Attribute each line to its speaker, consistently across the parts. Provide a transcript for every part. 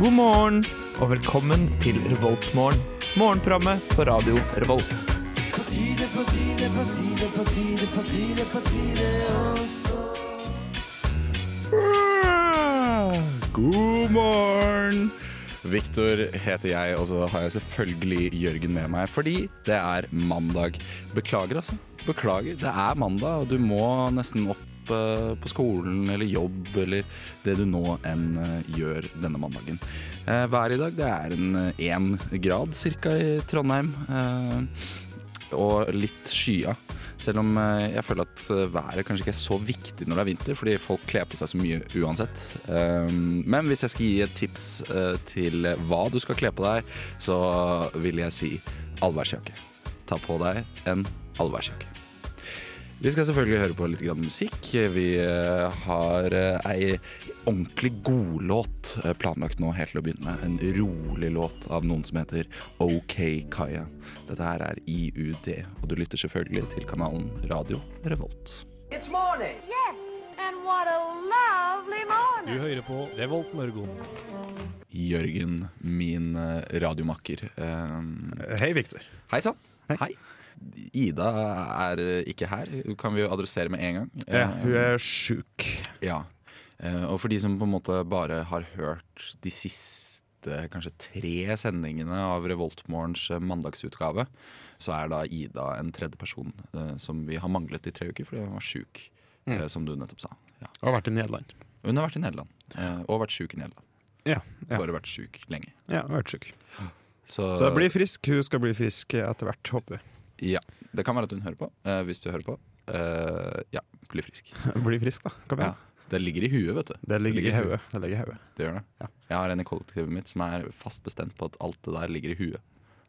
Speaker 1: God morgen og velkommen til Revoltmorgen. Morgenprogrammet på radio Revolt. God morgen!
Speaker 2: Victor heter jeg, og så har jeg selvfølgelig Jørgen med meg, fordi det er mandag. Beklager, altså. Beklager. Det er mandag, og du må nesten opp eh, på skolen eller jobb eller det du nå enn eh, gjør denne mandagen. Eh, Været i dag det er en eh, én grad ca. i Trondheim, eh, og litt skya. Selv om eh, jeg føler at eh, været kanskje ikke er så viktig når det er vinter, fordi folk kler på seg så mye uansett. Um, Men hvis jeg skal gi et tips eh, til hva du skal kle på deg, så vil jeg si allværsjakke. Ta på deg en allværsjakke. Vi skal selvfølgelig høre på litt grann musikk. Vi eh, har eh, ei ordentlig godlåt eh, planlagt nå helt til å begynne med. En rolig låt av noen som heter OK Kaya. Dette her er IUD, og du lytter selvfølgelig til kanalen Radio Revolt.
Speaker 3: It's morning.
Speaker 4: Yes, and what a lovely morning.
Speaker 5: Du hører på Revolt Mørgon.
Speaker 2: Jørgen, min eh, radiomakker. Eh,
Speaker 6: Hei, Victor.
Speaker 2: Hei sann. Hei. Ida er eh, ikke her, kan vi jo adressere med en gang.
Speaker 6: Ja,
Speaker 2: Eh,
Speaker 6: hun er sjuk.
Speaker 2: Ja, eh, og for de som på en måte bare har hørt de siste kanskje tre sendingene av Revoltmorgens eh, mandagsutgave, så er da Ida en tredje person eh, som vi har manglet i tre uker fordi hun var sjuk,
Speaker 6: Mm.
Speaker 2: eh, som du nettopp sa. Ja.
Speaker 6: Har vært i Nederland.
Speaker 2: Hun har vært i Nederland, eh, og vært sjuk i Nederland.
Speaker 6: Ja, ja.
Speaker 2: Bare vært sjuk lenge.
Speaker 6: Ja, hun har vært sjuk.
Speaker 2: Så,
Speaker 6: Så bli frisk. Hun skal bli frisk etter hvert, håper vi.
Speaker 2: ja, det kan være at hun hører på, eh, hvis du hører på. Eh, ja, bli frisk.
Speaker 6: Bli frisk, da. Kom igjen.
Speaker 2: Det ligger i huet, vet du.
Speaker 6: Det ligger i
Speaker 2: i
Speaker 6: hodet. Det ligger i hodet.
Speaker 2: Det gjør det.
Speaker 6: Ja.
Speaker 2: Jeg har en i kollektivet mitt som er fast bestemt på at alt det der ligger i huet.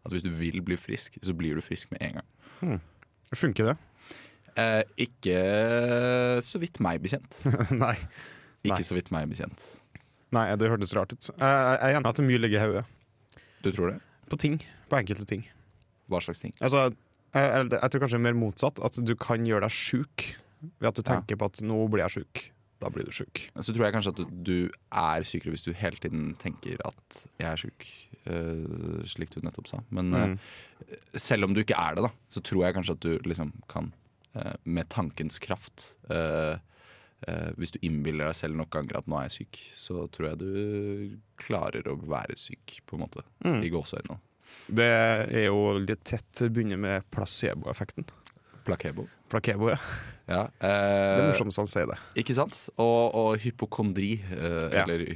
Speaker 2: At hvis du vil bli frisk, så blir du frisk med en gang.
Speaker 6: Funker det?
Speaker 2: Eh, ikke så vidt meg bekjent.
Speaker 6: Nei.
Speaker 2: Ikke
Speaker 6: Nei.
Speaker 2: så vidt meg bekjent.
Speaker 6: Nei, det hørtes rart ut. Jeg, jeg, jeg er enig i at mye ligger i hodet.
Speaker 2: Du tror det?
Speaker 6: På ting. På enkelte ting.
Speaker 2: Hva slags ting?
Speaker 6: Altså, jeg, jeg, jeg tror kanskje mer motsatt. At du kan gjøre deg sjuk ved at du
Speaker 2: Ja.
Speaker 6: tenker på at 'nå blir jeg sjuk'. Da blir du sjuk.
Speaker 2: Så tror jeg kanskje at du, du er sykere hvis du hele tiden tenker at jeg er syk. eh, slik du nettopp sa. Men
Speaker 6: Mm.
Speaker 2: eh, selv om du ikke er det, da, så tror jeg kanskje at du liksom kan eh, med tankens kraft eh, eh, Hvis du innbiller deg selv nok ganger at nå er jeg syk, så tror jeg du klarer å være syk, på en måte. I gåseøynene.
Speaker 6: Mm. Det er jo litt tett bundet med placeboeffekten.
Speaker 2: Plakebo.
Speaker 6: Plakebo, ja.
Speaker 2: Ja,
Speaker 6: Det er
Speaker 2: eh,
Speaker 6: morsomt han sier det.
Speaker 2: ikke sant? Og, og hypokondri, eh,
Speaker 6: Ja.
Speaker 2: eller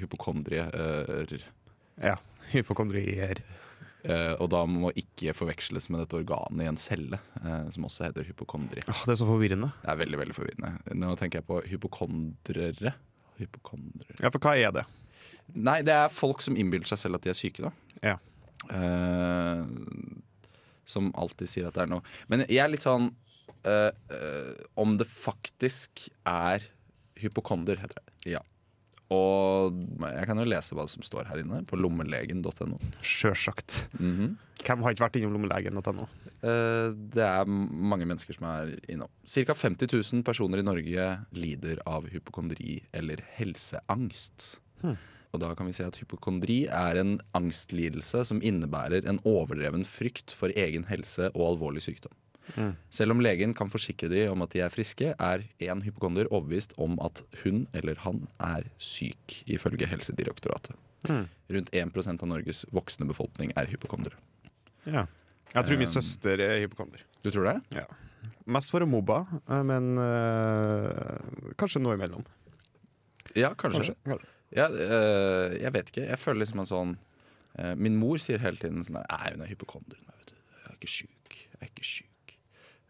Speaker 2: hypokondrier.
Speaker 6: Ja. Hypokondrier.
Speaker 2: Eh, og da må ikke forveksles med dette organet i en celle, eh, som også heter hypokondri.
Speaker 6: Åh, det er så forvirrende.
Speaker 2: Det er veldig veldig forvirrende. Nå tenker jeg på hypokondrere. Hypokondrere
Speaker 6: Ja, for hva er det?
Speaker 2: Nei, det er folk som innbiller seg selv at de er syke, da.
Speaker 6: Ja.
Speaker 2: Eh, som alltid sier at det er noe. Men jeg er litt sånn eh, eh, Om det faktisk er hypokonder, heter det. Ja. Og jeg kan jo lese hva som står her inne, på lommelegen.no.
Speaker 6: Sjølsagt.
Speaker 2: Mhm.
Speaker 6: Hvem har ikke vært innom lommelegen.no?
Speaker 2: Eh, Det er mange mennesker som er innom. Ca. 50 000 personer i Norge lider av hypokondri eller helseangst. Og da kan vi si at Hypokondri er en angstlidelse som innebærer en overdreven frykt for egen helse og alvorlig sykdom. Selv om legen kan forsikre de om at de er friske, er én hypokonder overbevist om at hun eller han er syk, ifølge Helsedirektoratet.
Speaker 6: Mm.
Speaker 2: Rundt 1 av Norges voksne befolkning er hypokondere.
Speaker 6: Ja. Jeg tror min søster er hypokonder.
Speaker 2: Du tror det?
Speaker 6: Um. Ja. Mest for mobba, eh, men eh, kanskje noe imellom.
Speaker 2: Ja, kanskje.
Speaker 6: Kanskje.
Speaker 2: Ja, øh, jeg vet ikke. Jeg føler liksom en sånn øh, Min mor sier hele tiden sånn der, Nei, hun er hypokonder. Hun er, vet du. Jeg er ikke sjuk. Jeg er ikke sjuk.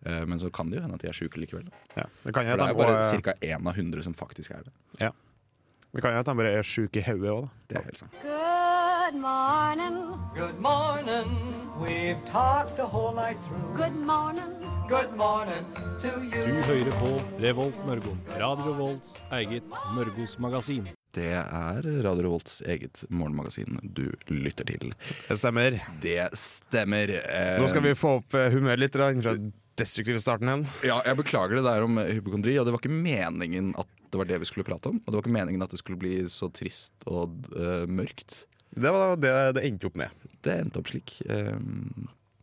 Speaker 2: Eh, men så kan det jo hende at de er sjuke likevel. da.
Speaker 6: Ja. Det kan
Speaker 2: For
Speaker 6: hende
Speaker 2: det er
Speaker 6: at
Speaker 2: jo
Speaker 6: de
Speaker 2: bare ca.
Speaker 6: bare-
Speaker 2: én av hundre som faktisk er det.
Speaker 6: det kan hende at de bare er sjuke i hodet òg, da.
Speaker 2: Det er helt sant.
Speaker 4: Good morning.
Speaker 3: Good morning. We've talked the whole night through.
Speaker 4: Good morning.
Speaker 3: Good morning to
Speaker 5: Du
Speaker 3: you.
Speaker 5: hører på Revolt Mørgon. Radio Revolts eget Mørgos magasin.
Speaker 2: Det er Radio Revolts eget morgenmagasin du lytter til.
Speaker 6: Det stemmer.
Speaker 2: Det stemmer. eh,
Speaker 6: Nå skal vi få opp eh, humøret litt grann fra destruktive starten igjen.
Speaker 2: Ja, jeg beklager det der om hypokondri, og det var ikke meningen at det var det vi skulle prate om. Og det var ikke meningen at det skulle bli så trist og eh, mørkt.
Speaker 6: Det var det det endte opp med.
Speaker 2: Det endte opp slik. eh,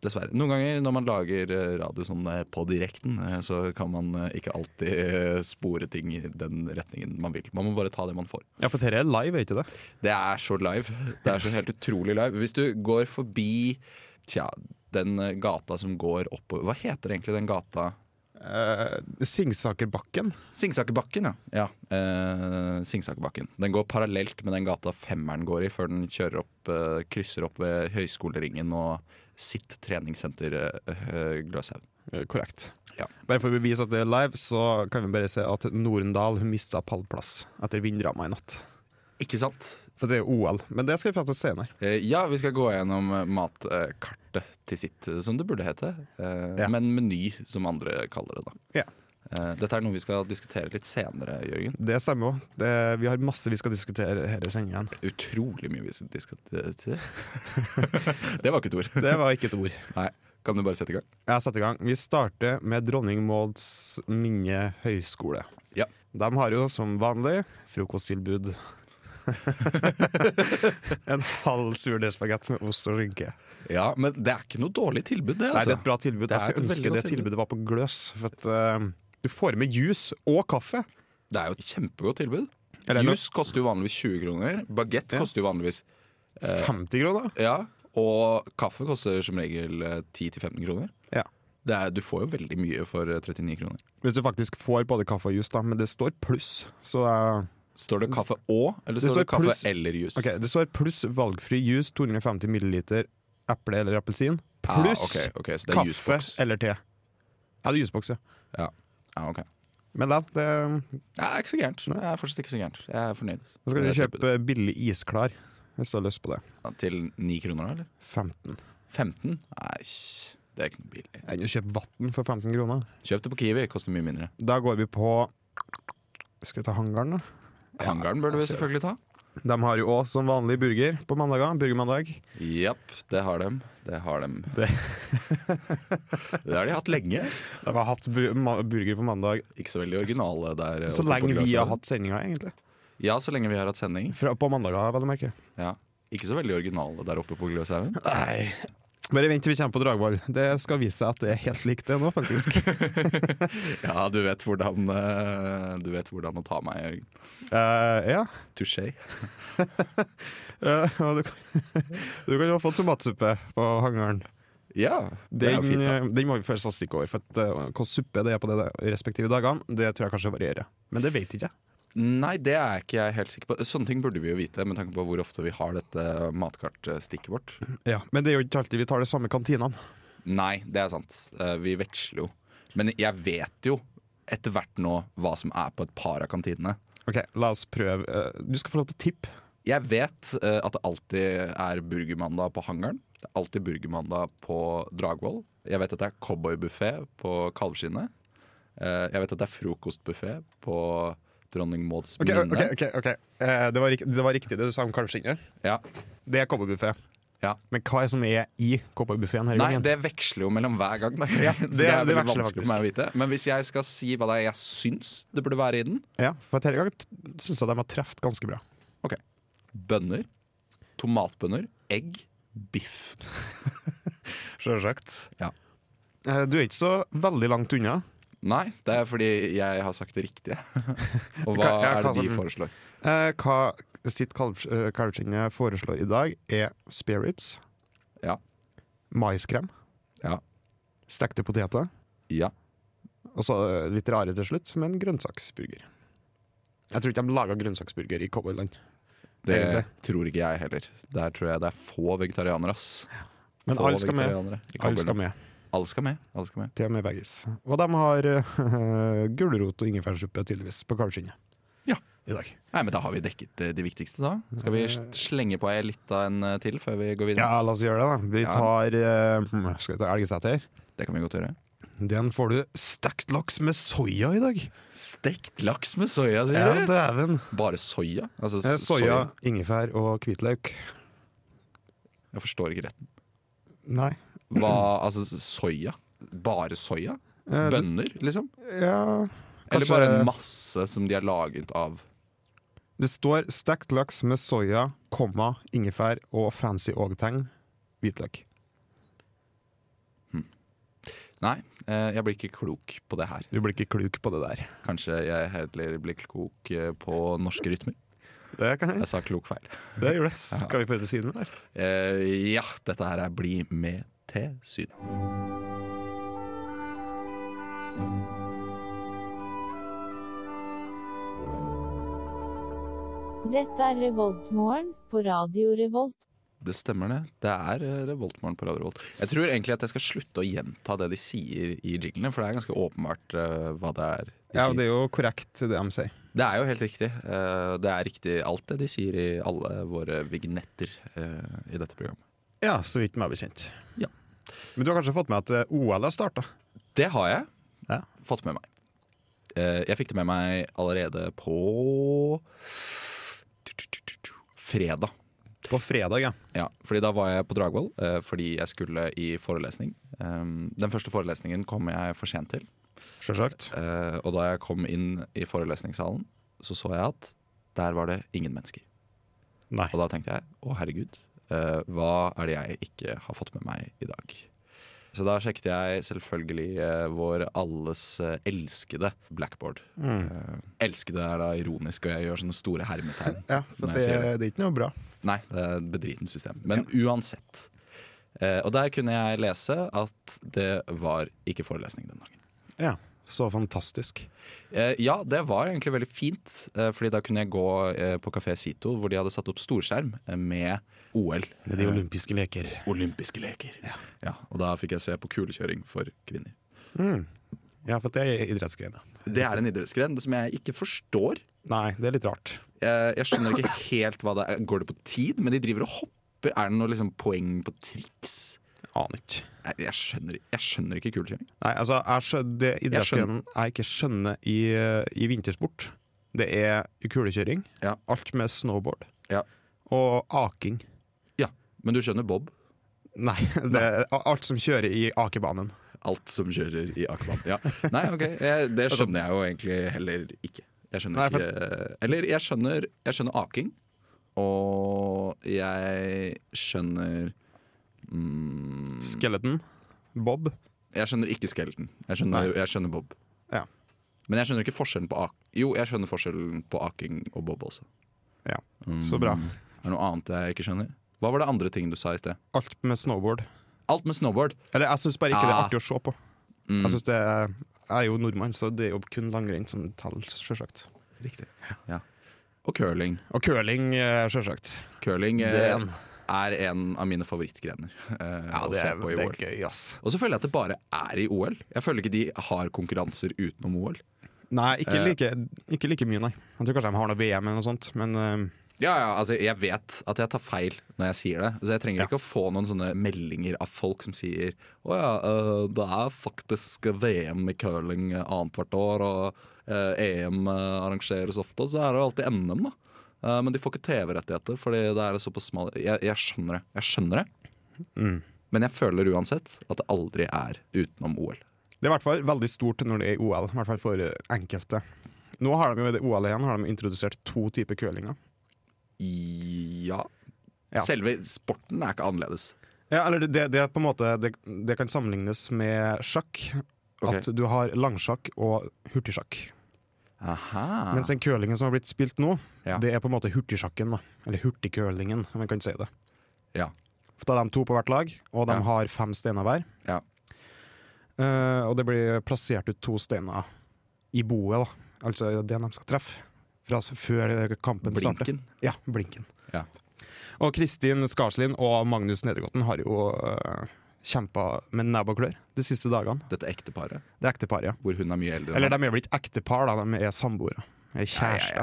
Speaker 2: dessverre. Noen ganger når man lager eh, radio sånn eh, på direkten, eh, så kan man eh, ikke alltid eh, spore ting i den retningen man vil. Man må bare ta det man får.
Speaker 6: Ja, for dette er live, er ikke det?
Speaker 2: Det er så live. Det er så helt utrolig live. Hvis du går forbi tja, den eh, gata som går oppover Hva heter egentlig den gata?
Speaker 6: Eh, Singsakerbakken.
Speaker 2: Singsakerbakken, ja. ja. Eh, Singsakerbakken. Den går parallelt med den gata femmeren går i, før den kjører opp, eh, krysser opp ved Høyskoleringen og sitt treningssenter eh, Gløshaug.
Speaker 6: Eh, korrekt.
Speaker 2: Ja.
Speaker 6: Bare for å bevise at det er live, så kan vi bare se at Norendal hun mista pallplass etter vindramma i natt.
Speaker 2: Ikke sant?
Speaker 6: For det er jo OL. Men det skal vi prate om senere.
Speaker 2: Eh, ja, vi skal gå gjennom eh, matkartet til sitt, eh, som det burde hete. Eh,
Speaker 6: Ja.
Speaker 2: Men meny, som andre kaller det. da.
Speaker 6: Ja.
Speaker 2: Eh, dette er noe vi skal diskutere litt senere, Jørgen.
Speaker 6: Det stemmer òg. Vi har masse vi skal diskutere her i sendingen.
Speaker 2: Utrolig mye vi skal diskutere. det var ikke et ord.
Speaker 6: Det var ikke et ord.
Speaker 2: Nei. Kan du bare sette i gang?
Speaker 6: Jeg setter i gang. Vi starter med Dronning Mauds minne høgskole.
Speaker 2: Ja.
Speaker 6: De har jo som vanlig frokosttilbud. en halv surdeigsbagett med ost og rynke.
Speaker 2: Ja, men det er ikke noe dårlig tilbud, det.
Speaker 6: Nei,
Speaker 2: altså.
Speaker 6: det er et bra tilbud.
Speaker 2: Det er et
Speaker 6: Jeg skulle
Speaker 2: veldig
Speaker 6: ønske
Speaker 2: godt
Speaker 6: det
Speaker 2: tilbud.
Speaker 6: tilbudet var på gløs. For at, eh, du får med juice og kaffe.
Speaker 2: Det er jo et kjempegodt tilbud.
Speaker 6: Eller noe-
Speaker 2: Juice koster jo vanligvis 20 kroner. Bagett
Speaker 6: Ja.
Speaker 2: koster jo vanligvis Eh.
Speaker 6: 50 kroner?
Speaker 2: Ja. Og kaffe koster som regel eh, 10-15 kroner.
Speaker 6: Ja.
Speaker 2: Det er, du får jo veldig mye for eh, 39 kroner.
Speaker 6: Hvis du faktisk får både kaffe og juice, da. Men det står pluss. Så eh,
Speaker 2: Står det kaffe og, eller
Speaker 6: Det
Speaker 2: står det
Speaker 6: står
Speaker 2: kaffe
Speaker 6: pluss-
Speaker 2: eller juice?
Speaker 6: Ok, det står pluss valgfri juice, 250 milliliter eple eller appelsin.
Speaker 2: Ah,
Speaker 6: Pluss
Speaker 2: ok, ok, så det er
Speaker 6: kaffe
Speaker 2: juicebox.
Speaker 6: eller te. Ja, det er jusboks, ja.
Speaker 2: Ja. Ja, ok.
Speaker 6: Men da, det,
Speaker 2: Det er ikke så gærent. Det er fortsatt ikke så gærent. Jeg er fornøyd.
Speaker 6: da skal du
Speaker 2: Det er tilbudet.
Speaker 6: kjøpe billig isklar hvis du har lyst på det.
Speaker 2: Ja, Til 9 kroner, eller?
Speaker 6: 15.
Speaker 2: 15? Nei, sj, det er ikke noe billig.
Speaker 6: Enn å kjøpe vann for 15 kroner.
Speaker 2: Kjøp det på Kiwi, koster mye mindre.
Speaker 6: Da går vi på Skal vi ta hangaren, da?
Speaker 2: Hangaren bør du selvfølgelig ta.
Speaker 6: De har jo òg som vanlig burger på mandager. Burgermandag.
Speaker 2: Japp, det har dem. Det har dem. Det, har de hatt lenge.
Speaker 6: De har hatt bu- ma- burger på mandag
Speaker 2: Ikke så veldig originale der.
Speaker 6: så
Speaker 2: oppe på
Speaker 6: lenge vi har
Speaker 2: Gløshaugen.
Speaker 6: hatt sendinga, egentlig.
Speaker 2: Ja, så lenge vi har hatt sending.
Speaker 6: Fra, på mandager, vel å merke.
Speaker 2: Ja. Ikke så veldig originale der oppe på Gløshaugen.
Speaker 6: Nei. Bare vent til vi kommer på Dragvoll. Det skal vise seg at det er helt likt det nå, faktisk.
Speaker 2: Ja, du vet hvordan eh, Du vet hvordan å ta meg, Jørgen.
Speaker 6: Eh, ja.
Speaker 2: Touché.
Speaker 6: Eh, og du, kan, du kan jo få tomatsuppe på hangaren.
Speaker 2: Ja, det er
Speaker 6: Den,
Speaker 2: jo fint. da.
Speaker 6: eh, den må vi føre statistikk over. For at, eh, Hvilken suppe det er på de respektive dagene, det tror jeg kanskje varierer. Men det vet ikke jeg.
Speaker 2: Nei, det er ikke jeg helt sikker på. Sånne ting burde vi jo vite, med tanke på hvor ofte vi har dette matkartstikket vårt.
Speaker 6: Men det er jo ikke alltid vi tar de samme kantinene.
Speaker 2: Nei, det er sant. Eh, Vi veksler jo. Men jeg vet jo etter hvert nå hva som er på et par av kantinene.
Speaker 6: Ok, La oss prøve. Eh, Du skal få lov til å tippe.
Speaker 2: Jeg vet eh, at det alltid er burgermandag på hangaren. Det er alltid burgermandag på Dragvoll. Jeg vet at det er cowboybuffé på Kalvskinnet. Eh, jeg vet at det er frokostbuffé på Dronning Mauds
Speaker 6: Ok,
Speaker 2: minne.
Speaker 6: ok, ok, ok. Eh, det, var, rik- det var riktig det du sa om kanskje ikke.
Speaker 2: Ja.
Speaker 6: Det er kobberbuffé.
Speaker 2: Ja.
Speaker 6: Men hva er det som er i kobberbuffeen her i
Speaker 2: Nei,
Speaker 6: gangen?
Speaker 2: det veksler jo mellom hver gang. Da.
Speaker 6: Ja,
Speaker 2: Så
Speaker 6: det-
Speaker 2: det er
Speaker 6: det
Speaker 2: veldig
Speaker 6: veksler
Speaker 2: vanskelig for meg å vite. Men hvis jeg skal si hva det er jeg syns det burde være i den
Speaker 6: Ja, for denne gangen syns jeg de har truffet ganske bra.
Speaker 2: Ok. Bønner, tomatbønner, egg, biff.
Speaker 6: Sjølsagt.
Speaker 2: Ja.
Speaker 6: Eh, Du er ikke så veldig langt unna.
Speaker 2: Nei, det er fordi jeg har sagt det riktige. Og hva
Speaker 6: Hva- ja,
Speaker 2: er
Speaker 6: hva
Speaker 2: det de
Speaker 6: som-
Speaker 2: foreslår?
Speaker 6: Eh, Hva sitt kalvs- eh, kalvskinne foreslår i dag, er spare ribs,
Speaker 2: Ja.
Speaker 6: maiskrem,
Speaker 2: Ja.
Speaker 6: stekte poteter
Speaker 2: Ja.
Speaker 6: og så eh, litt rare til slutt, men grønnsaksburger. Jeg tror ikke de lager grønnsaksburger i cowboyland.
Speaker 2: Det
Speaker 6: Egentlig.
Speaker 2: tror ikke jeg heller. Der tror jeg det er få vegetarianere, ass.
Speaker 6: Men
Speaker 2: Få
Speaker 6: alle skal med.
Speaker 2: vegetarianere i
Speaker 6: Alle skal
Speaker 2: Cowboyland.
Speaker 6: med.
Speaker 2: Alle skal med. Alle skal med.
Speaker 6: Til og med veggis. Og de har eh, gulrot og ingefærsuppe tydeligvis på kalvskinnet
Speaker 2: Ja.
Speaker 6: i dag.
Speaker 2: Nei, men Da har vi dekket eh, de viktigste, da. Skal vi s- slenge på ei litt av en eh, til før vi går videre?
Speaker 6: Mm. Ja, la oss gjøre det, da. Vi
Speaker 2: Ja.
Speaker 6: tar eh, Skal vi ta Elgeseter?
Speaker 2: Det kan vi godt gjøre.
Speaker 6: Den får du stekt laks med soya i dag.
Speaker 2: Stekt laks med soya, sier
Speaker 6: Ja,
Speaker 2: du?
Speaker 6: dæven.
Speaker 2: Bare soya? Altså,
Speaker 6: Eh,
Speaker 2: s-
Speaker 6: Soya, ingefær og hvitløk.
Speaker 2: Jeg forstår ikke retten.
Speaker 6: Nei.
Speaker 2: Hva, altså s- soya? Bare soya?
Speaker 6: Eh, det-
Speaker 2: Bønner, liksom?
Speaker 6: Ja
Speaker 2: Eller
Speaker 6: Kanskje-
Speaker 2: bare en masse som de har laget av
Speaker 6: Det står stekt laks med soya, komma, ingefær og fancy ågeteng. Hvitløk.
Speaker 2: Nei, eh, jeg blir ikke klok på det her.
Speaker 6: Du blir ikke kluk på det der.
Speaker 2: Kanskje jeg heller blir klok eh, på norske rytmer.
Speaker 6: Det kan jeg.
Speaker 2: Jeg sa klok feil.
Speaker 6: Det gjør det. Skal vi få til Syden, eller?
Speaker 2: Eh, ja, dette her er Bli med til Syden.
Speaker 7: Dette er Revoltmorgen på Radio Revolt.
Speaker 2: Det stemmer, det. Det er eh, Revoltmorgen på Radio Revolt. Jeg tror egentlig at jeg skal slutte å gjenta det de sier i jinglene, for det er ganske åpenbart eh, hva det er. de
Speaker 6: Ja,
Speaker 2: sier.
Speaker 6: og det er jo korrekt, det de sier.
Speaker 2: Det er jo helt riktig. Eh, Det er riktig alt det de sier i alle våre vignetter eh, i dette programmet.
Speaker 6: Ja, så vidt meg bekjent.
Speaker 2: Ja.
Speaker 6: Men du har kanskje fått med at eh, OL har starta?
Speaker 2: Det har jeg
Speaker 6: Ja.
Speaker 2: fått med meg. Eh, Jeg fikk det med meg allerede på fredag.
Speaker 6: På fredag, ja.
Speaker 2: Ja, fordi da var jeg på Dragvoll eh, fordi jeg skulle i forelesning. Um, Den første forelesningen kom jeg for sent til.
Speaker 6: Sjølsagt.
Speaker 2: eh, Og da jeg kom inn i forelesningssalen, så så jeg at der var det ingen mennesker.
Speaker 6: Nei.
Speaker 2: Og da tenkte jeg å herregud, eh, hva er det jeg ikke har fått med meg i dag? Så da sjekket jeg selvfølgelig eh, vår alles eh, elskede blackboard. Eh, elskede er da ironisk, og jeg gjør sånne store hermetegn.
Speaker 6: Ja, for
Speaker 2: når
Speaker 6: det,
Speaker 2: jeg sier
Speaker 6: det er ikke noe bra.
Speaker 2: Nei, det er et bedritent system. Men uansett. Eh, og der kunne jeg lese at det var ikke forelesning den dagen.
Speaker 6: Ja, Så fantastisk.
Speaker 2: Eh, ja, det var egentlig veldig fint, eh, fordi da kunne jeg gå eh, på Kafé Sito, hvor de hadde satt opp storskjerm eh, med OL.
Speaker 6: Med de olympiske leker.
Speaker 2: Olympiske leker. Ja. og da fikk jeg se på kulekjøring for kvinner.
Speaker 6: Ja, for det er idrettsgreiene.
Speaker 2: Det er en idrettsgren som jeg ikke forstår. Eh,
Speaker 6: Nei, det er litt rart.
Speaker 2: Jeg, jeg skjønner ikke helt hva det er. Går det på tid? Men de driver og hopper. Er det noe liksom poeng på triks?
Speaker 6: Aner ikke.
Speaker 2: Jeg, jeg, skjønner, jeg skjønner ikke kulekjøring.
Speaker 6: Nei, altså, jeg skjø- det idrettsgrenen
Speaker 2: skjønner.
Speaker 6: jeg ikke skjønner i, i vintersport, det er kulekjøring,
Speaker 2: Ja.
Speaker 6: alt med snowboard
Speaker 2: Ja.
Speaker 6: og aking.
Speaker 2: ja, Men du skjønner bob?
Speaker 6: Nei, det er alt som kjører i akebanen.
Speaker 2: Alt som kjører i akebanen. Ja. Nei, ok, jeg, det skjønner jeg jo egentlig heller ikke. Jeg skjønner
Speaker 6: Nei, for-
Speaker 2: ikke Eller jeg skjønner, jeg skjønner aking, og jeg skjønner mm,
Speaker 6: Skeleton, bob.
Speaker 2: Jeg skjønner ikke skeleton. Jeg skjønner, jeg skjønner bob.
Speaker 6: Ja.
Speaker 2: Men jeg skjønner ikke forskjellen på ak Jo, jeg skjønner forskjellen på aking og bob også.
Speaker 6: Ja, så bra.
Speaker 2: Er det noe annet jeg ikke skjønner? Hva var det andre ting du sa i sted?
Speaker 6: Alt med snowboard.
Speaker 2: Alt med snowboard.
Speaker 6: Eller jeg syns bare ikke det er
Speaker 2: Ah.
Speaker 6: artig å se på.
Speaker 2: Mm.
Speaker 6: Jeg, synes det er, jeg er jo nordmann, så det er jo kun langrenn som teller, sjølsagt.
Speaker 2: Riktig. Ja. Og curling.
Speaker 6: Og curling, eh, sjølsagt.
Speaker 2: Curling eh,
Speaker 6: Det er en.
Speaker 2: er en av mine favorittgrener eh, å se på i OL.
Speaker 6: gøy, ass.
Speaker 2: Og så føler jeg at det bare er i OL. Jeg føler ikke de har konkurranser utenom OL.
Speaker 6: Nei, ikke
Speaker 2: Eh.
Speaker 6: like, ikke like mye, nei. Jeg tror kanskje de har noe VM eller noe sånt, men eh,
Speaker 2: Ja, ja, altså Jeg vet at jeg tar feil når jeg sier det. Så Jeg trenger ikke å få noen sånne meldinger av folk som sier Å ja, øh, det er faktisk VM i curling eh, annethvert år, og eh, EM arrangeres ofte, og så er det jo alltid NM, da. Eh, men de får ikke TV-rettigheter, fordi det er såpass smal jeg, jeg skjønner det. Jeg skjønner det. Men jeg føler uansett at det aldri er utenom OL.
Speaker 6: det er i hvert fall veldig stort når det er OL, i hvert fall for eh, enkelte. Nå har de jo i det OL igjen har de introdusert to typer curlinger.
Speaker 2: Ja.
Speaker 6: Ja.
Speaker 2: Selve sporten er ikke annerledes.
Speaker 6: Ja, eller det, det er på en måte det, det kan sammenlignes med sjakk.
Speaker 2: Ok.
Speaker 6: At du har langsjakk og hurtigsjakk.
Speaker 2: Aha.
Speaker 6: Mens den curlingen som har blitt spilt nå,
Speaker 2: Ja.
Speaker 6: det er på en måte hurtigsjakken. da Eller hurtigcurlingen, om man kan si det.
Speaker 2: Ja.
Speaker 6: For Da er de to på hvert lag, og de
Speaker 2: Ja.
Speaker 6: har fem steiner hver.
Speaker 2: ja.
Speaker 6: Eh, og det blir plassert ut to steiner i boet, da. altså det de skal treffe. Fra s- før eh, kampen starter.
Speaker 2: Blinken.
Speaker 6: Ja, blinken.
Speaker 2: Ja.
Speaker 6: Og Kristin Skarslien og Magnus Nedergotten har jo uh, kjempa med nebb og klør de siste dagene.
Speaker 2: Dette ekteparet.
Speaker 6: Det er ektepar, ja.
Speaker 2: Hvor hun er mye eldre. enn
Speaker 6: Eller
Speaker 2: han.
Speaker 6: de er vel ikke ektepar, da. de er samboere. Er kjærester.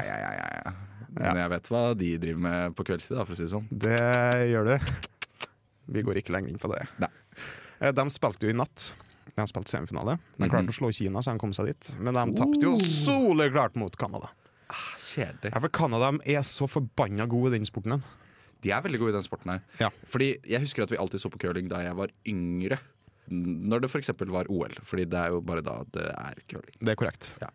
Speaker 2: Ja, ja, ja, ja, ja, ja. Men jeg vet hva de driver med på kveldstid, da, for å si det sånn.
Speaker 6: Det gjør du. Vi går ikke lenger inn på det.
Speaker 2: Nei.
Speaker 6: Eh, De spilte jo i natt. De spilte semifinale. De
Speaker 2: Mhm.
Speaker 6: klarte å slå Kina, så de kom seg dit. Men de tapte
Speaker 2: Oh.
Speaker 6: jo soleklart mot Canada. Ah,
Speaker 2: Kjedelig.
Speaker 6: Ja, for Canada de er så forbanna gode i den sporten. den.
Speaker 2: De er veldig gode i den sporten her.
Speaker 6: Ja.
Speaker 2: Fordi jeg husker at vi alltid så på curling da jeg var yngre. når det f.eks. var OL, Fordi det er jo bare da det er curling.
Speaker 6: Det er korrekt.
Speaker 2: Ja.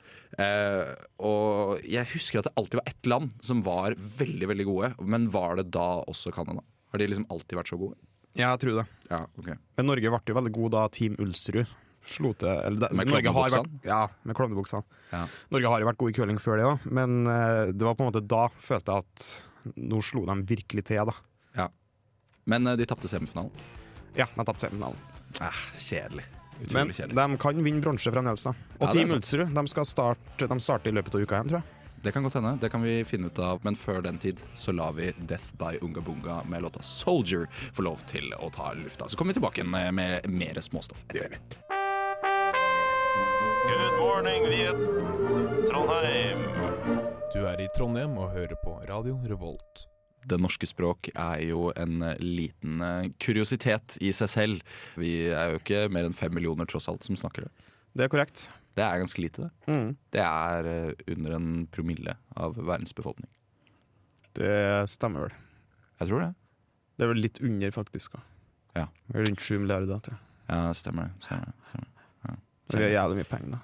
Speaker 2: Eh, og jeg husker at det alltid var ett land som var veldig veldig gode. Men var det da også Canada? Har de liksom alltid vært så gode?
Speaker 6: Jeg tror det.
Speaker 2: Ja, ok
Speaker 6: Men Norge ble jo veldig god da Team Ulsrud slo til eller, det-
Speaker 2: Med
Speaker 6: Norge har
Speaker 2: klovnebuksene?
Speaker 6: vært- Ja, med klovnebuksene.
Speaker 2: Ja.
Speaker 6: Norge har jo vært god i curling før det òg, men eh, det var på en måte da følte jeg at nå slo de virkelig til, da.
Speaker 2: ja. Men eh, de tapte semifinalen.
Speaker 6: Ja, de tapte semifinalen.
Speaker 2: Ah, kjedelig.
Speaker 6: Men
Speaker 2: Utrolig kjedelig.
Speaker 6: de kan vinne bronse fremdeles, da. Og
Speaker 2: Ja, det er
Speaker 6: Team
Speaker 2: sant.
Speaker 6: Ulsrud de skal starte, de starter i løpet av uka igjen, tror jeg.
Speaker 2: Det kan godt hende. Det kan vi finne ut av. Men før den tid så lar vi Death by Unga Bunga med låta 'Soldier' få lov til å ta lufta. Så kommer vi tilbake igjen med, med mer småstoff. Etter.
Speaker 8: Good morning, Viet. Trondheim.
Speaker 9: Du er i Trondheim og hører på Radio Revolt.
Speaker 2: Det norske språk er jo en liten eh, kuriositet i seg selv. Vi er jo ikke mer enn fem millioner tross alt som snakker det.
Speaker 6: Det er korrekt.
Speaker 2: Det er ganske lite, det.
Speaker 6: Mm.
Speaker 2: Det er eh, under en promille av verdens befolkning.
Speaker 6: Det stemmer vel.
Speaker 2: Jeg tror det.
Speaker 6: Det er vel litt under, faktisk. da.
Speaker 2: Ja.
Speaker 6: Rundt sju milliarder, da, tror jeg.
Speaker 2: Ja, stemmer det. Stemmer det. Stemmer. det.
Speaker 6: Det er jævlig mye penger, da.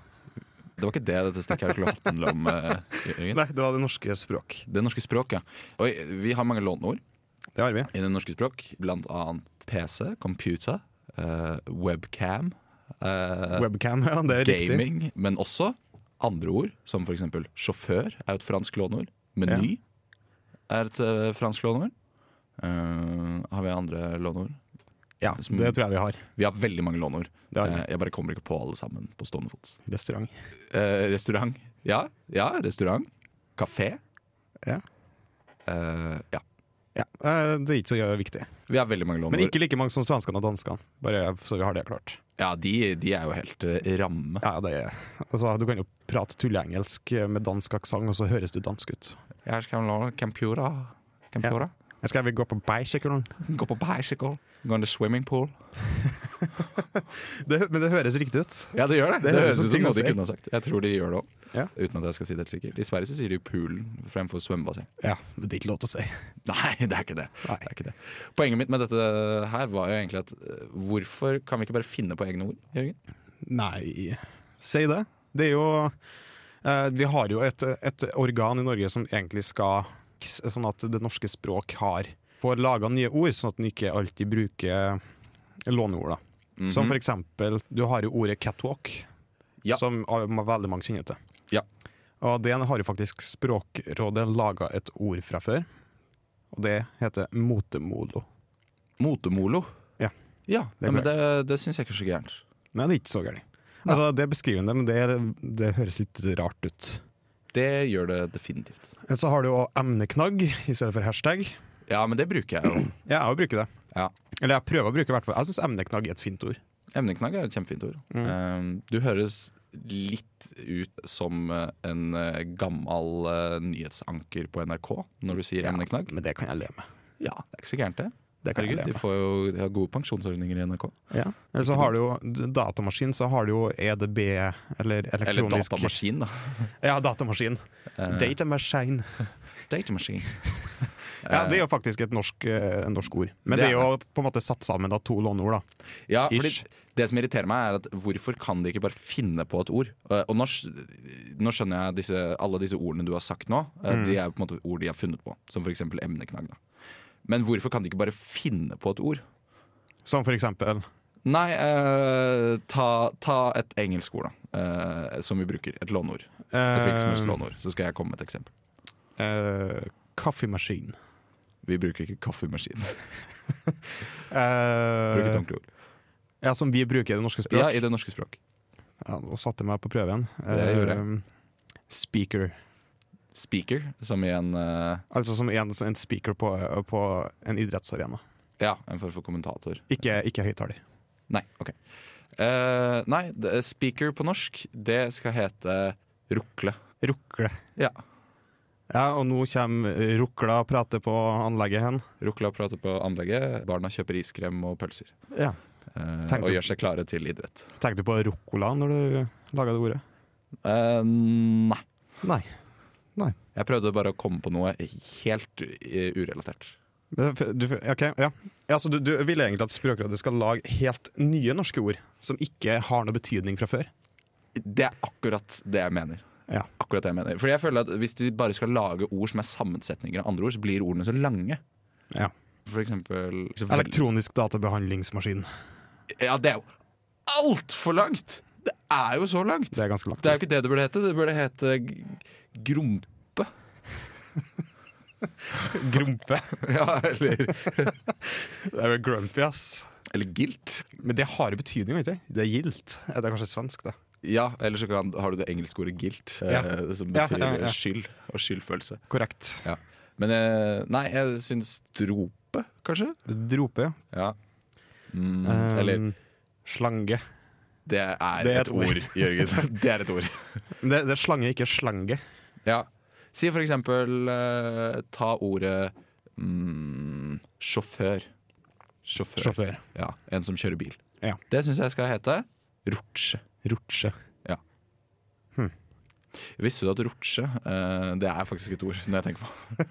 Speaker 2: Det var ikke det dette stikket her skulle handle om. eh, Jørgen.
Speaker 6: Nei, det var det norske språk.
Speaker 2: Det norske språk, ja. Oi, vi har mange låneord
Speaker 6: Det har vi.
Speaker 2: i det norske språk. Blant annet PC, computer, eh, webcam, eh,
Speaker 6: Webcam, ja, det er riktig.
Speaker 2: gaming. Men også andre ord, som f.eks. sjåfør er et fransk låneord. Meny er et eh, fransk låneord. Eh, har vi andre låneord?
Speaker 6: Ja, det tror jeg vi har.
Speaker 2: Vi har veldig mange låneord.
Speaker 6: Det har vi.
Speaker 2: Eh, jeg bare kommer ikke på alle sammen på stående fot.
Speaker 6: Restaurant.
Speaker 2: Eh, restaurant. Ja, ja, restaurant. Kafé.
Speaker 6: Ja.
Speaker 2: Eh, ja.
Speaker 6: Ja, eh, det er ikke så viktig.
Speaker 2: Vi har veldig mange låneord.
Speaker 6: Men ikke like mange som svenskene og danskene. Bare så vi har det klart.
Speaker 2: Ja, de, de er jo helt eh, ramme.
Speaker 6: Ja, det er, altså, du kan jo prate tulleengelsk med dansk aksent, og så høres du dansk ut.
Speaker 2: Jeg skal låne Campura.
Speaker 6: Campura. Her skal vi gå på bicyclen.
Speaker 2: Gå på bicycle. Gå in the swimming pool.
Speaker 6: Det, hø- men det høres riktig ut.
Speaker 2: Ja, det gjør det.
Speaker 6: Det
Speaker 2: Det,
Speaker 6: høres
Speaker 2: høres
Speaker 6: ut
Speaker 2: ut som
Speaker 6: ting å
Speaker 2: noe de
Speaker 6: si.
Speaker 2: kunne ha sagt. Jeg tror de gjør det òg.
Speaker 6: Ja.
Speaker 2: Uten at jeg skal si det helt sikkert. I Sverige så sier de jo poolen fremfor svømmebasseng.
Speaker 6: Ja, men det er ikke lov til å si.
Speaker 2: Nei, det er ikke det.
Speaker 6: Nei.
Speaker 2: det er ikke det. Poenget mitt med dette her var jo egentlig at eh, hvorfor kan vi ikke bare finne på egne ord, Jørgen?
Speaker 6: Nei, si det. Det er jo eh, Vi har jo et, et organ i Norge som egentlig skal Sånn at det norske språk har får laga nye ord, sånn at en ikke alltid bruker låneord. da. Som for eksempel, du har jo ordet catwalk,
Speaker 2: Mhm. Ja.
Speaker 6: som av- ma- veldig mange kjenner til.
Speaker 2: Ja.
Speaker 6: Og det har jo faktisk Språkrådet laga et ord fra før, og det heter motemolo.
Speaker 2: Motemolo.
Speaker 6: Ja.
Speaker 2: Ja,
Speaker 6: Det er
Speaker 2: det, men det,
Speaker 6: korrekt.
Speaker 2: det syns jeg ikke er så gærent.
Speaker 6: Nei, det er ikke så gærent. Altså, det er beskrivende, men det, det høres litt rart ut.
Speaker 2: Det gjør det definitivt.
Speaker 6: Eller Så har du jo emneknagg i stedet for hashtag.
Speaker 2: Ja, men det bruker jeg jo.
Speaker 6: Ja, jeg bruker det.
Speaker 2: Ja.
Speaker 6: Eller jeg prøver å bruke i hvert fall. Jeg syns emneknagg er et fint ord.
Speaker 2: Emneknagg er et kjempefint ord.
Speaker 6: Mm.
Speaker 2: Eh, du høres litt ut som eh, en eh, gammel eh, nyhetsanker på NRK når du sier emneknagg.
Speaker 6: Men det kan jeg le med.
Speaker 2: Ja, det er ikke så gærent, det.
Speaker 6: Det kan jeg
Speaker 2: Herregud,
Speaker 6: leve
Speaker 2: de får jo de har gode pensjonsordninger i NRK.
Speaker 6: Ja. Eller så har du jo datamaskin, så har du jo EDB, eller
Speaker 2: Eller
Speaker 6: elektronisk
Speaker 2: datamaskin, Eh. da.
Speaker 6: Ja, datamaskin. Datamaskin.
Speaker 2: Datamaskin.
Speaker 6: Ja, det er jo faktisk et norsk, eh, norsk ord. Men
Speaker 2: Det
Speaker 6: det er jo på en måte satt sammen av to låneord, da.
Speaker 2: Ja, fordi
Speaker 6: Ish.
Speaker 2: det som irriterer meg, er at hvorfor kan de ikke bare finne på et ord? Eh, Og nå, sk- nå skjønner jeg disse, alle disse ordene du har sagt nå, eh,
Speaker 6: Mm.
Speaker 2: de er jo på en måte ord de har funnet på. Som f.eks. emneknagg. da. Men hvorfor kan de ikke bare finne på et ord?
Speaker 6: Som for eksempel
Speaker 2: Nei, eh, ta, ta et engelsk ord, da. eh, som vi bruker. Et låneord. Et hvilket som helst
Speaker 6: eh,
Speaker 2: låneord. Så skal jeg komme med et eksempel.
Speaker 6: eh, kaffemaskin.
Speaker 2: Vi bruker ikke kaffemaskin. Bruker et
Speaker 6: Eh,
Speaker 2: ordentlig ord.
Speaker 6: ja, som vi bruker i det norske språk.
Speaker 2: Ja, i det norske språk.
Speaker 6: Ja, Nå satte jeg meg på prøven. Eh,
Speaker 2: Det gjorde jeg.
Speaker 6: Speaker.
Speaker 2: Speaker, som i en eh,
Speaker 6: Altså som en, en speaker på, på en idrettsarena.
Speaker 2: Ja, en form for kommentator.
Speaker 6: Ikke, ikke høyttaler.
Speaker 2: Nei, OK. Eh, nei, det- speaker på norsk, det skal hete rukle.
Speaker 6: Rukle.
Speaker 2: Ja.
Speaker 6: Ja, og nå kommer rukla og prater på anlegget hen.
Speaker 2: Rukla prater på anlegget, barna kjøper iskrem og pølser.
Speaker 6: Ja.
Speaker 2: eh,
Speaker 6: Tenkte-
Speaker 2: og gjør seg klare til idrett.
Speaker 6: Tenkte du på ruccola når du laga det ordet?
Speaker 2: Eh, nei.
Speaker 6: Nei.
Speaker 2: Jeg prøvde bare å komme på noe helt eh, urelatert.
Speaker 6: Du, ok, ja. Ja, så du, du vil egentlig at Språkrådet skal lage helt nye norske ord som ikke har noe betydning fra før?
Speaker 2: Det er akkurat det jeg mener.
Speaker 6: Ja.
Speaker 2: Akkurat det jeg mener. Fordi jeg føler at Hvis de bare skal lage ord som er sammensetninger av andre ord, så blir ordene så lange.
Speaker 6: Ja.
Speaker 2: For eksempel
Speaker 6: Elektronisk databehandlingsmaskin.
Speaker 2: Ja, det er jo altfor langt! Det er jo så langt!
Speaker 6: Det er ganske langt.
Speaker 2: Det er jo ikke det det burde hete. Det burde hete g- grompe.
Speaker 6: Grompe.
Speaker 2: Ja, eller,
Speaker 6: Det er vel grumpy, ass.
Speaker 2: eller gilt.
Speaker 6: Men det har jo betydning, vet du. Det er gildt. Eh, Det er kanskje svensk, det.
Speaker 2: Ja, eller så kan, har du det engelske ordet gilt, eh,
Speaker 6: Ja.
Speaker 2: som
Speaker 6: Ja,
Speaker 2: betyr
Speaker 6: ja, ja.
Speaker 2: skyld og skyldfølelse.
Speaker 6: Korrekt.
Speaker 2: Ja. Men eh, nei, jeg syns drope, kanskje.
Speaker 6: Drope, ja.
Speaker 2: Ja. Mm,
Speaker 6: Um,
Speaker 2: eller
Speaker 6: Slange.
Speaker 2: det er,
Speaker 6: det er
Speaker 2: et,
Speaker 6: et ord.
Speaker 2: ord, Jørgen. Det er et ord.
Speaker 6: Men Det, det er slange, ikke slange.
Speaker 2: Ja. Si for eksempel eh, ta ordet mm, sjåfør. Sjåfør.
Speaker 6: Sjåfør.
Speaker 2: Ja, en som kjører bil.
Speaker 6: Ja.
Speaker 2: Det syns jeg skal hete rotsje.
Speaker 6: Rutsje.
Speaker 2: Visste du at rotsje eh, Det er faktisk et ord, når jeg tenker på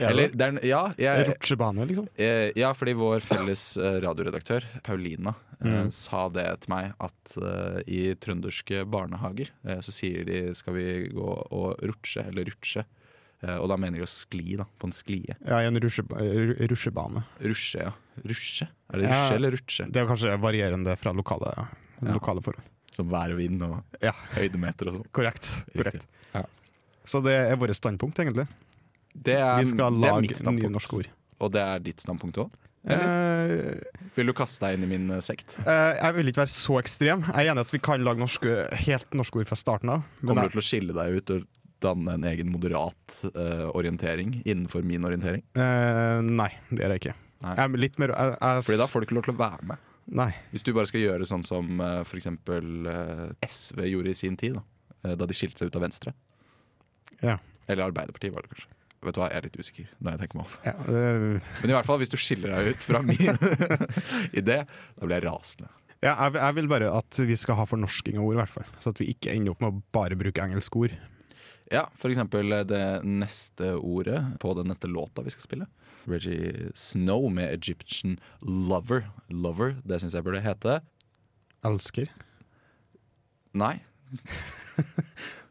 Speaker 6: Er
Speaker 2: Eller,
Speaker 6: det
Speaker 2: det er, en- ja,
Speaker 6: det?
Speaker 2: jeg,
Speaker 6: Rutsjebane, liksom?
Speaker 2: eh, ja, fordi vår felles eh, radioredaktør, Paulina, eh,
Speaker 6: Mm.
Speaker 2: sa det til meg at eh, i trønderske barnehager eh, så sier de 'skal vi gå og rutsje', eller 'rutsje'. Eh, og da mener de å skli, da. På en sklie.
Speaker 6: Ja, i en rutsjeba- ru- rutsjebane.
Speaker 2: Rusje, ja. Rusje? Er det
Speaker 6: Ja.
Speaker 2: rusje eller rutsje?
Speaker 6: Det er kanskje varierende fra lokale,
Speaker 2: Ja.
Speaker 6: lokale forhold.
Speaker 2: Som vær og vind og
Speaker 6: Ja,
Speaker 2: høydemeter og sånn.
Speaker 6: korrekt. korrekt.
Speaker 2: Ja.
Speaker 6: Så det er vårt standpunkt, egentlig.
Speaker 2: Det er,
Speaker 6: Vi skal
Speaker 2: det er
Speaker 6: lage
Speaker 2: mitt
Speaker 6: nye
Speaker 2: standpunkt.
Speaker 6: norske ord.
Speaker 2: Og det er ditt standpunkt òg?
Speaker 6: Eh,
Speaker 2: Vil du kaste deg inn i min eh, sekt?
Speaker 6: eh, jeg vil ikke være så ekstrem. Jeg er enig i at vi kan lage norske, helt norske ord fra starten av. Men
Speaker 2: Kommer
Speaker 6: jeg,
Speaker 2: du til å skille deg ut og danne en egen moderat eh, orientering innenfor min orientering?
Speaker 6: eh, nei, det er jeg ikke.
Speaker 2: Nei.
Speaker 6: Jeg er litt mer jeg, jeg,
Speaker 2: Fordi da får du ikke lov til å være med.
Speaker 6: Nei.
Speaker 2: Hvis du bare skal gjøre sånn som eh, for eksempel eh, SV gjorde i sin tid, da, eh, da de skilte seg ut av Venstre.
Speaker 6: Ja.
Speaker 2: Eller Arbeiderpartiet, var det kanskje. Vet du hva, Jeg er litt usikker. når jeg tenker meg om
Speaker 6: Ja, eh,
Speaker 2: Men i hvert fall, hvis du skiller deg ut fra min idé, da blir jeg rasende.
Speaker 6: ja, jeg, jeg vil bare at vi skal ha fornorsking av ord, i hvert fall. Så at vi ikke ender opp med å bare bruke engelske ord.
Speaker 2: Ja, for eksempel eh, det neste ordet på den neste låta vi skal spille. Reggie Snow med 'Egyptian Lover'. Lover, Det syns jeg burde hete
Speaker 6: Elsker.
Speaker 2: Nei,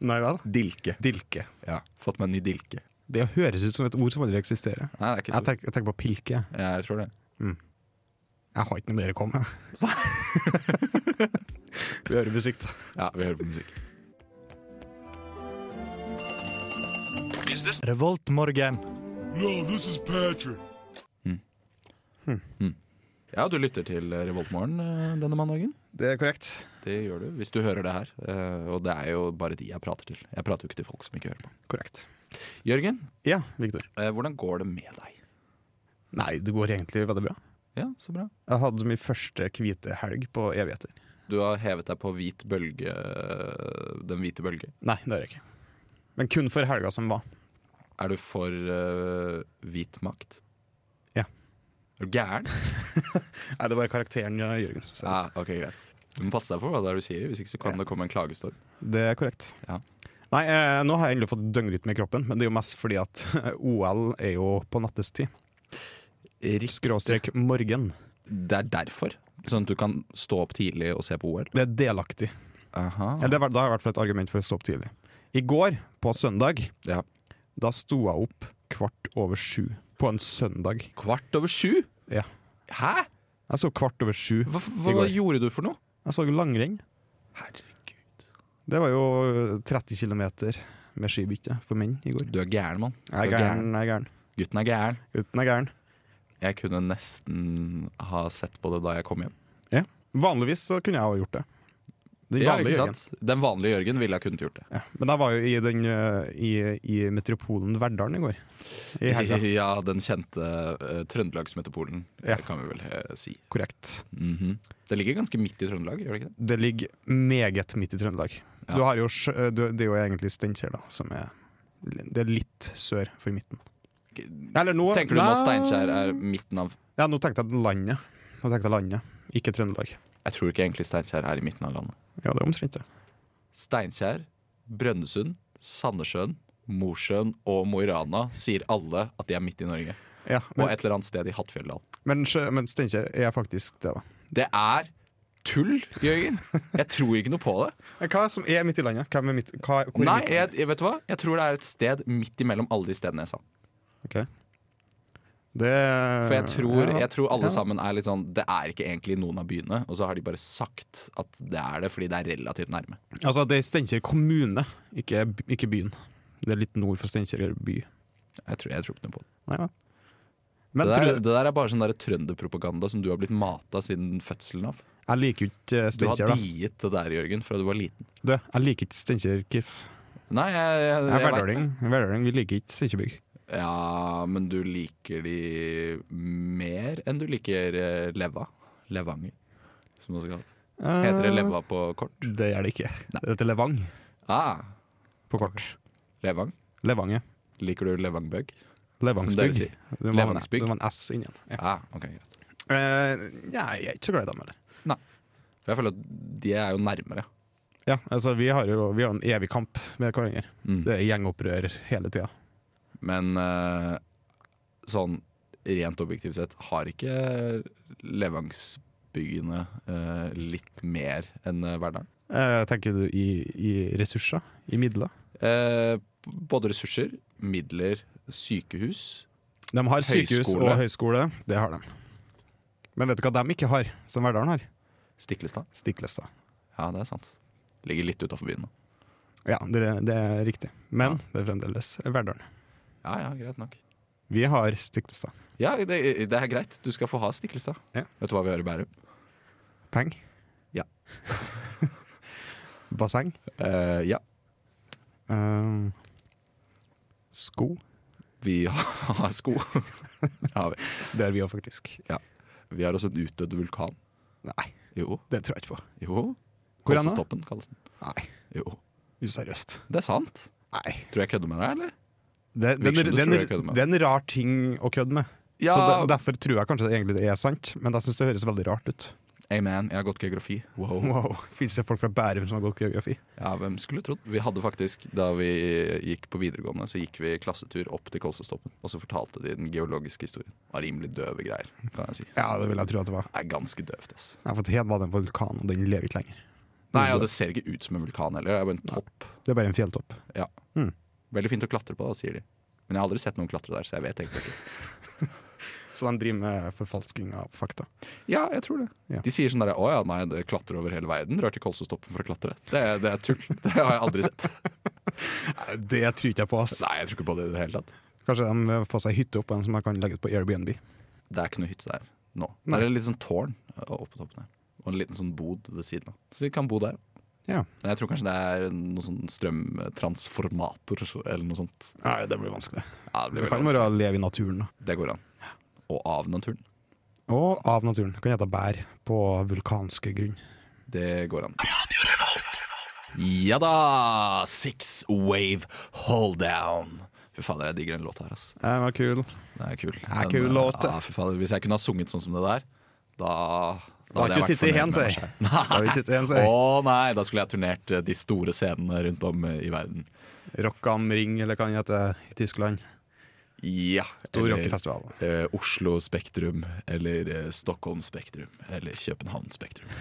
Speaker 6: Nei vel?
Speaker 2: dilke.
Speaker 6: Dilke.
Speaker 2: Ja, Fått meg en ny dilke.
Speaker 6: Det høres ut som et ord som aldri eksisterer.
Speaker 2: Nei, det er ikke
Speaker 6: Jeg
Speaker 2: et ord.
Speaker 6: tenker, jeg tenker på pilke. jeg.
Speaker 2: Ja, jeg tror det.
Speaker 6: Jeg har ikke noe mer å komme med. Vi hører musikk, da.
Speaker 2: Ja, vi hører på musikk.
Speaker 1: Revoltmorgen.
Speaker 2: Ja, du lytter til Revoltmorgen eh, denne mandagen.
Speaker 6: Det er korrekt.
Speaker 2: Det gjør du, hvis du hører det her. Eh, Og det er jo bare de jeg prater til. Jeg prater jo ikke til folk som ikke hører på.
Speaker 6: Korrekt.
Speaker 2: Jørgen,
Speaker 6: Ja, Viktor.
Speaker 2: eh, hvordan går det med deg?
Speaker 6: Nei, det går egentlig veldig bra.
Speaker 2: Ja, så bra.
Speaker 6: Jeg hadde min første hvite helg på evigheter.
Speaker 2: Du har hevet deg på hvit bølge, eh, den hvite bølge.
Speaker 6: Nei, det har jeg ikke. Men kun for helga som var.
Speaker 2: Er du for eh, hvit makt?
Speaker 6: Ja.
Speaker 2: Er du gæren?
Speaker 6: Nei, det var karakteren ja, Jørgen. som sa det.
Speaker 2: Ja, ok, greit. Du må passe deg for hva det er du sier, hvis ikke så kan det komme en klagestorm.
Speaker 6: Det er korrekt.
Speaker 2: Ja.
Speaker 6: Nei, eh, nå har jeg endelig fått døgnrytme i kroppen, men det er jo mest fordi at OL er jo på nattestid. Skråstrek morgen.
Speaker 2: Det er derfor. Sånn at du kan stå opp tidlig og se på OL.
Speaker 6: Det er delaktig.
Speaker 2: Aha.
Speaker 6: Eller det var, da har jeg i hvert fall et argument for å stå opp tidlig. I går, på søndag,
Speaker 2: Ja.
Speaker 6: da sto jeg opp kvart over sju. På en søndag.
Speaker 2: Kvart over sju?
Speaker 6: Ja.
Speaker 2: Hæ?
Speaker 6: Jeg så kvart over sju.
Speaker 2: Hva, hva,
Speaker 6: I går.
Speaker 2: gjorde du for noe?
Speaker 6: Jeg så langrenn.
Speaker 2: Herregud.
Speaker 6: Det var jo 30 km med skibytte for menn i går.
Speaker 2: Du er gæren, mann. Du
Speaker 6: Jeg er gæren, jeg er gæren.
Speaker 2: Gutten er gæren.
Speaker 6: Gutten er gæren.
Speaker 2: Jeg kunne nesten ha sett på det da jeg kom hjem.
Speaker 6: Ja. Vanligvis så kunne jeg ha gjort det. Den
Speaker 2: Ja,
Speaker 6: vanlige
Speaker 2: ikke
Speaker 6: Jørgen.
Speaker 2: sant? Den vanlige Jørgen ville ha kunnet gjort det.
Speaker 6: Ja. Men jeg var jo i, den, ø, i, i metropolen Verdalen i går. I helga.
Speaker 2: Ja, den kjente uh, Trøndelagsmetopolen,
Speaker 6: Ja.
Speaker 2: det kan vi vel eh, si.
Speaker 6: Korrekt.
Speaker 2: Mhm. Det ligger ganske midt i Trøndelag, gjør det ikke det?
Speaker 6: Det ligger meget midt i Trøndelag.
Speaker 2: Ja.
Speaker 6: Du har jo, sjø- ø, du, det er jo egentlig Steinkjer, da, som er Det er litt sør for midten. Eller nå
Speaker 2: Tenker du nå
Speaker 6: Nei.
Speaker 2: Steinkjer er midten av
Speaker 6: Ja, nå tenkte jeg landet. Nå tenkte jeg landet, ikke Trøndelag.
Speaker 2: Jeg tror ikke egentlig Steinkjer er i midten av landet.
Speaker 6: Ja, det er omtrent det.
Speaker 2: Steinkjer, Brønnøysund, Sandnessjøen, Mosjøen og Mo i Rana sier alle at de er midt i Norge.
Speaker 6: Ja,
Speaker 2: og
Speaker 6: men,
Speaker 2: et eller annet sted i Hattfjelldal.
Speaker 6: men, sjø- men Steinkjer er faktisk det, da.
Speaker 2: Det er tull, Jørgen! Jeg tror ikke noe på det.
Speaker 6: Men hva som er midt i landet? Hvem er midt, hva, hvor
Speaker 2: Nei,
Speaker 6: er midt i
Speaker 2: jeg,
Speaker 6: landet?
Speaker 2: jeg vet du hva? Jeg tror det er et sted midt imellom alle de stedene jeg sa.
Speaker 6: Ok. Det
Speaker 2: For jeg tror,
Speaker 6: Eh, ja.
Speaker 2: jeg tror alle
Speaker 6: Ja.
Speaker 2: sammen er litt sånn Det er ikke egentlig noen av byene, og så har de bare sagt at det er det fordi det er relativt nærme.
Speaker 6: Altså, det er Steinkjer kommune, ikke, by- ikke byen. Det er litt nord for Steinkjer by.
Speaker 2: Jeg tror, jeg tror ikke noe på det.
Speaker 6: Nei, ja. Men
Speaker 2: det,
Speaker 6: tror,
Speaker 2: der, det der er bare sånn der trønderpropaganda som du har blitt mata siden fødselen av.
Speaker 6: jeg liker jo ikke
Speaker 2: Du har
Speaker 6: Steinkjer, da.
Speaker 2: diet det der, Jørgen, fra du var liten.
Speaker 6: Du, jeg liker ikke Steinkjer-Kiss.
Speaker 2: Nei, jeg, jeg, jeg,
Speaker 6: Jeg er
Speaker 2: vet det.
Speaker 6: verdøling. Jeg er verdøling. Vi liker ikke Steinkjerbygg.
Speaker 2: Ja, men du liker de mer enn du liker eh, leva. Levanger, som det også kalles. Heter det leva på kort?
Speaker 6: Eh, Det gjør det ikke. Det heter Levang
Speaker 2: Ah,
Speaker 6: på kort.
Speaker 2: levang.
Speaker 6: Levang, ja.
Speaker 2: Liker du levangbøgg?
Speaker 6: Levangsbygg.
Speaker 2: Som
Speaker 6: Du må ha en-
Speaker 2: Levangsbygg.
Speaker 6: du må ha en S inni den. Ja.
Speaker 2: Ah, ok, greit.
Speaker 6: Eh, nei, jeg er ikke så glad i dem heller.
Speaker 2: For Jeg føler at de er jo nærmere.
Speaker 6: Ja, altså, vi har jo vi har en evig kamp med hverandre.
Speaker 2: Mm.
Speaker 6: Det er gjengopprør hele tida.
Speaker 2: Men eh, sånn rent objektivt sett, har ikke levangsbyggene eh, litt mer enn eh, Verdalen?
Speaker 6: Eh, tenker du i, i ressurser? I midler?
Speaker 2: Eh, både ressurser, midler, sykehus.
Speaker 6: De har sykehus
Speaker 2: Høyskole.
Speaker 6: og høyskole, det har de. Men vet du hva de ikke har, som Verdalen har?
Speaker 2: Stiklestad.
Speaker 6: Stiklestad.
Speaker 2: Ja, det er sant. Ligger litt utafor byen. da.
Speaker 6: Ja, det, det er riktig. Men det er fremdeles Verdalen.
Speaker 2: Ja, ja, greit nok.
Speaker 6: Vi har Stiklestad.
Speaker 2: Ja, det, det er greit. Du skal få ha Stiklestad.
Speaker 6: Ja.
Speaker 2: Vet du hva vi har i Bærum?
Speaker 6: Peng.
Speaker 2: Ja.
Speaker 6: Basseng.
Speaker 2: ja.
Speaker 6: Eh, sko.
Speaker 2: Vi har sko. ja, vi.
Speaker 6: Det er vi òg, faktisk.
Speaker 2: vi har også en utdødd vulkan.
Speaker 6: Nei,
Speaker 2: Jo.
Speaker 6: det tror jeg ikke på.
Speaker 2: Jo.
Speaker 6: Hvor er den da?
Speaker 2: Kolsestoppen kalles den.
Speaker 6: Nei,
Speaker 2: Jo.
Speaker 6: useriøst.
Speaker 2: Det er sant.
Speaker 6: Nei.
Speaker 2: Tror jeg kødder med deg, eller?
Speaker 6: Det,
Speaker 2: Virker
Speaker 6: det,
Speaker 2: som du
Speaker 6: det, det,
Speaker 2: tror jeg kødder med.
Speaker 6: er en rar ting å kødde med.
Speaker 2: Ja.
Speaker 6: Så de- Derfor tror jeg kanskje det egentlig det er sant, men jeg syns det høres veldig rart ut.
Speaker 2: Amen. Jeg har gått geografi. Wow.
Speaker 6: Wow, Fins det folk fra Bærum som har gått geografi?
Speaker 2: Ja, hvem skulle trodd? Vi hadde faktisk, da vi gikk på videregående, så gikk vi klassetur opp til Kolsestoppen. Og så fortalte de den geologiske historien. Var rimelig døve greier, kan jeg si.
Speaker 6: Ja, det vil jeg tro at det var.
Speaker 2: er ganske døvt, ass.
Speaker 6: Nei, for Hed var det en vulkan, og den lever ikke lenger.
Speaker 2: Nei, og det ser ikke ut som en vulkan heller. Det er bare en topp.
Speaker 6: Det er bare en fjelltopp.
Speaker 2: Ja.
Speaker 6: Mm.
Speaker 2: Veldig fint å klatre på, da, sier de. Men jeg har aldri sett noen klatre der, så jeg vet egentlig ikke.
Speaker 6: Så de driver med forfalsking av fakta.
Speaker 2: Ja, jeg tror det.
Speaker 6: Ja.
Speaker 2: De sier sånn derre Å ja, nei, det klatrer over hele verden. Drar til Kolsestoppen for å klatre. Det, er- det er tull. Det har jeg aldri sett.
Speaker 6: Nei, Det tror ikke jeg på, ass.
Speaker 2: Nei, jeg tror ikke på det i det hele tatt.
Speaker 6: Kanskje de får seg hytte oppå en som jeg kan legge ut på Airbnb.
Speaker 2: Det er ikke noe hytte der nå.
Speaker 6: Nei.
Speaker 2: Det er et lite sånn tårn eh, oppe på toppen her. Og en liten sånn bod ved siden av. Så vi kan bo der.
Speaker 6: Ja.
Speaker 2: Men jeg tror kanskje det er noe sånn strømtransformator eller noe sånt.
Speaker 6: Nei, det blir vanskelig.
Speaker 2: Ja, det, blir veldig
Speaker 6: Det kan
Speaker 2: vanskelig.
Speaker 6: være å leve i naturen, da.
Speaker 2: det går an. Og av naturen.
Speaker 6: Og av naturen. Kan gjette bær på vulkanske grunn.
Speaker 2: Det går an. Ja da! Six Wave Hold Down. Fy fader, jeg digger den låta her. ass.
Speaker 6: Det var kul.
Speaker 2: Det er kul.
Speaker 6: er
Speaker 2: Den,
Speaker 6: kul
Speaker 2: eh,
Speaker 6: låt, det.
Speaker 2: Ja, fy fader. Hvis jeg kunne ha sunget sånn som det der, da
Speaker 6: Da
Speaker 2: hadde jeg
Speaker 6: har ikke
Speaker 2: vært
Speaker 6: du sittet
Speaker 2: fornøyd
Speaker 6: igjen,
Speaker 2: med
Speaker 6: sier
Speaker 2: meg
Speaker 6: jeg.
Speaker 2: selv.
Speaker 6: Da har du ikke sittet igjen,
Speaker 2: Å
Speaker 6: sier jeg.
Speaker 2: nei, da skulle jeg turnert eh, de store scenene rundt om eh, i verden.
Speaker 6: Rock am Ring, eller kan gjette i Tyskland.
Speaker 2: Ja.
Speaker 6: Stor
Speaker 2: eller,
Speaker 6: rockefestival.
Speaker 2: eh, Oslo Spektrum, eller eh, Stockholm Spektrum, eller København Spektrum.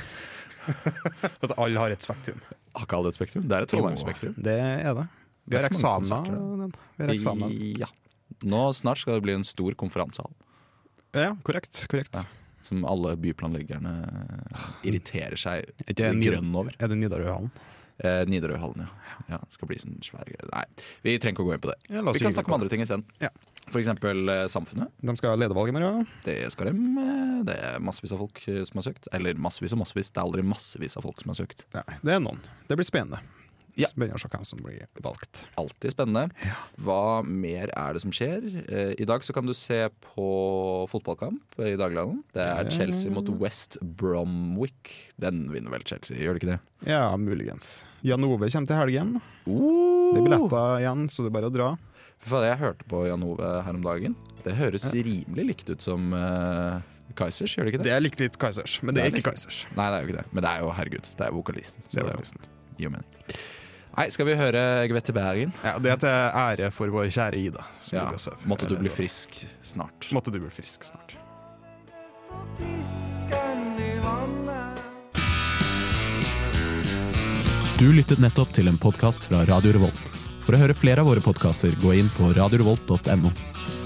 Speaker 6: At alle har et spektrum.
Speaker 2: Har ikke alle et spektrum? Det er et Trondheim Spektrum.
Speaker 6: Det er det. Vi har
Speaker 2: Det er ikke så mange
Speaker 6: eksamener.
Speaker 2: konserter,
Speaker 6: den. Vi har eksamen.
Speaker 2: Ja. Nå snart skal det bli en stor konferansehall.
Speaker 6: Ja, korrekt. korrekt.
Speaker 2: Ja. Som alle byplanleggerne irriterer seg
Speaker 6: Er det Nid-
Speaker 2: grønn over.
Speaker 6: Er det Nidarøhallen?
Speaker 2: Eh, Nidarøhallen, ja. ja. Det skal bli sånn svær greie. Nei, vi trenger ikke å gå inn på det.
Speaker 6: Ja, la oss
Speaker 2: vi kan
Speaker 6: ikke gå
Speaker 2: snakke om
Speaker 6: på
Speaker 2: andre ting isteden.
Speaker 6: Ja.
Speaker 2: For eksempel eh, samfunnet.
Speaker 6: De skal ha ledervalg i morgen.
Speaker 2: Det skal dem. eh, Det er massevis av folk eh, som har søkt. Eller massevis og massevis, det er aldri massevis av folk som har søkt.
Speaker 6: Nei, det er noen. Det blir spennende.
Speaker 2: Ja.
Speaker 6: Spennende å se hvem som blir valgt.
Speaker 2: Alltid spennende. Hva mer er det som skjer? Eh, I dag så kan du se på fotballkamp i Dagbladet. Det er Chelsea mot West Bromwick. Den vinner vel Chelsea, gjør det ikke det?
Speaker 6: Ja, muligens. Jan Ove kommer til helgen.
Speaker 2: Uh,
Speaker 6: Det er billetter igjen, så det er bare å dra.
Speaker 2: Fy faen, jeg hørte på Jan Ove her om dagen. Det høres rimelig likt ut som eh, Kaizers, gjør det ikke det?
Speaker 6: Det er likt litt Kaizers, men det er
Speaker 2: Det er
Speaker 6: ikke Kaizers.
Speaker 2: Nei, det er jo ikke det. Men det er jo herregud, det er vokalisten. Så
Speaker 6: Det er
Speaker 2: det er jo-
Speaker 6: vokalisten.
Speaker 2: gir jo mening.
Speaker 10: Nei, skal vi høre Gvette Bergen?
Speaker 6: Ja, det er til ære for vår kjære Ida. som
Speaker 10: Ja.
Speaker 6: ligger og sover.
Speaker 10: Måtte du bli frisk snart.
Speaker 6: Måtte du bli frisk snart.
Speaker 2: Du lyttet nettopp til en podkast fra Radio Revolt. For å høre flere av våre podkaster, gå inn på radiorevolt.no.